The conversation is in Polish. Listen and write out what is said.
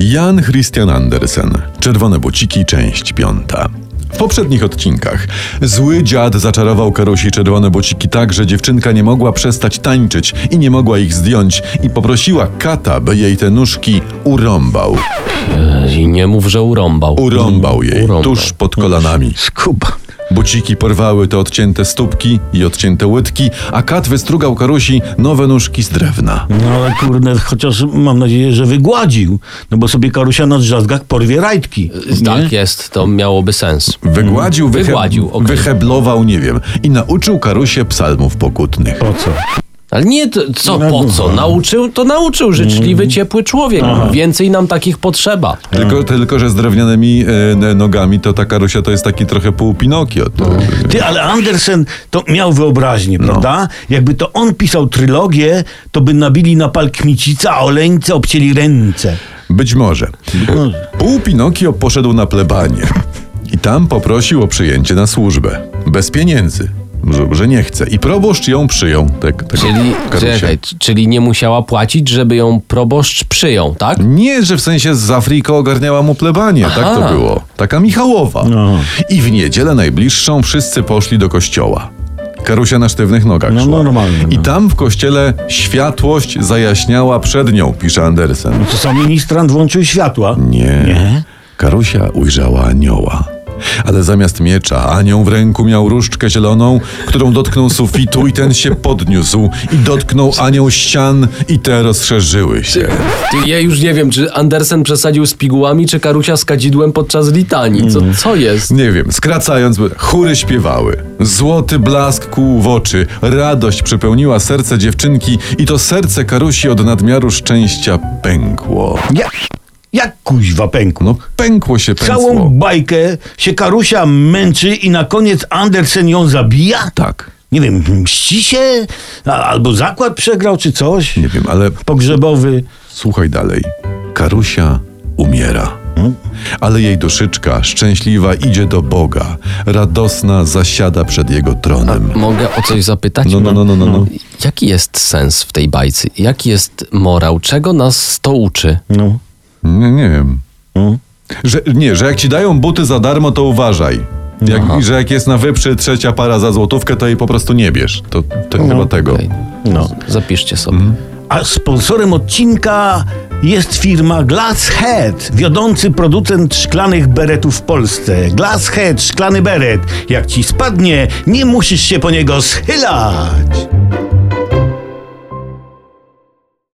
Jan Christian Andersen, Czerwone Buciki, część piąta. W poprzednich odcinkach zły dziad zaczarował Karusi czerwone buciki tak, że dziewczynka nie mogła przestać tańczyć i nie mogła ich zdjąć i poprosiła kata, by jej te nóżki urąbał. I nie mów, że urąbał. Urąbał jej Urąbał. tuż pod kolanami. Skuba. Buciki porwały te odcięte stópki i odcięte łydki, a kat wystrugał Karusi nowe nóżki z drewna. Mm. No ale kurde, chociaż mam nadzieję, że wygładził. No bo sobie karusia na drzazgach porwie rajtki. Tak jest, to miałoby sens. Wygładził, wyhe- Wygładził, okej. wyheblował, nie wiem, i nauczył Karusie psalmów pokutnych. Po co? Ale nie, to, co, No, po co? Nauczył, to nauczył. Mm. Życzliwy, ciepły człowiek. Więcej nam takich potrzeba. Tylko, tylko, że z drewnianymi e, nogami to ta Karusia to jest taki trochę pół Pinokio. To, Ty, ale Andersen to miał wyobraźnię, No. prawda? Jakby to on pisał trylogię, to by nabili na pal kmicica, a oleńce obcięli ręce. Być może. Pół Pinokio poszedł na plebanie i tam poprosił o przyjęcie na służbę. Bez pieniędzy. Że- Że nie chce. I proboszcz ją przyjął. Tak, tak, Czyli, Karusia. czekaj, c- czyli nie musiała płacić, żeby ją proboszcz przyjął, tak? Nie, że w sensie z Afryki ogarniała mu plebanie, tak to było. Taka Michałowa. No. I w niedzielę najbliższą wszyscy poszli do kościoła. Karusia na sztywnych nogach No, szła. normalnie, no. I tam w kościele światłość zajaśniała przed nią, pisze Andersen. To sam ministrant włączył światła. Nie. Nie? Karusia ujrzała anioła. Ale zamiast miecza, anioł w ręku miał różdżkę zieloną, którą dotknął sufitu i ten się podniósł. I dotknął anioł ścian i te rozszerzyły się. Ty, Ja już nie wiem, czy Andersen przesadził z pigułami, czy Karusia z kadzidłem podczas litanii. Co, Mm. co jest? Nie wiem, skracając, chóry śpiewały. Złoty blask kłuł w oczy, radość przepełniła serce dziewczynki i to serce Karusi od nadmiaru szczęścia pękło. Jak, jak kuźwa pękł? No pękło się pękło. Całą bajkę się karusia męczy i na koniec Andersen ją zabija? Tak, Nie wiem, mści się? A, albo zakład przegrał, czy coś? nie wiem, ale Pogrzebowy. Słuchaj dalej. Karusia umiera. Hmm? Ale jej duszyczka szczęśliwa idzie do Boga. Radosna zasiada przed jego tronem. Mogę o coś zapytać? No, no, no, no, no. no. Jaki jest sens w tej bajce? Jaki jest morał? Czego nas to uczy? No. Nie, nie wiem. Że, nie, że jak ci dają buty za darmo, to uważaj. Jak, i że jak jest na wyprzy trzecia para za złotówkę, to jej po prostu nie bierz. To, to chyba tego. Okej. No. Zapiszcie sobie. Mhm. A sponsorem odcinka jest firma Glasshead, wiodący producent szklanych beretów w Polsce. Glasshead, szklany beret. Jak ci spadnie, nie musisz się po niego schylać.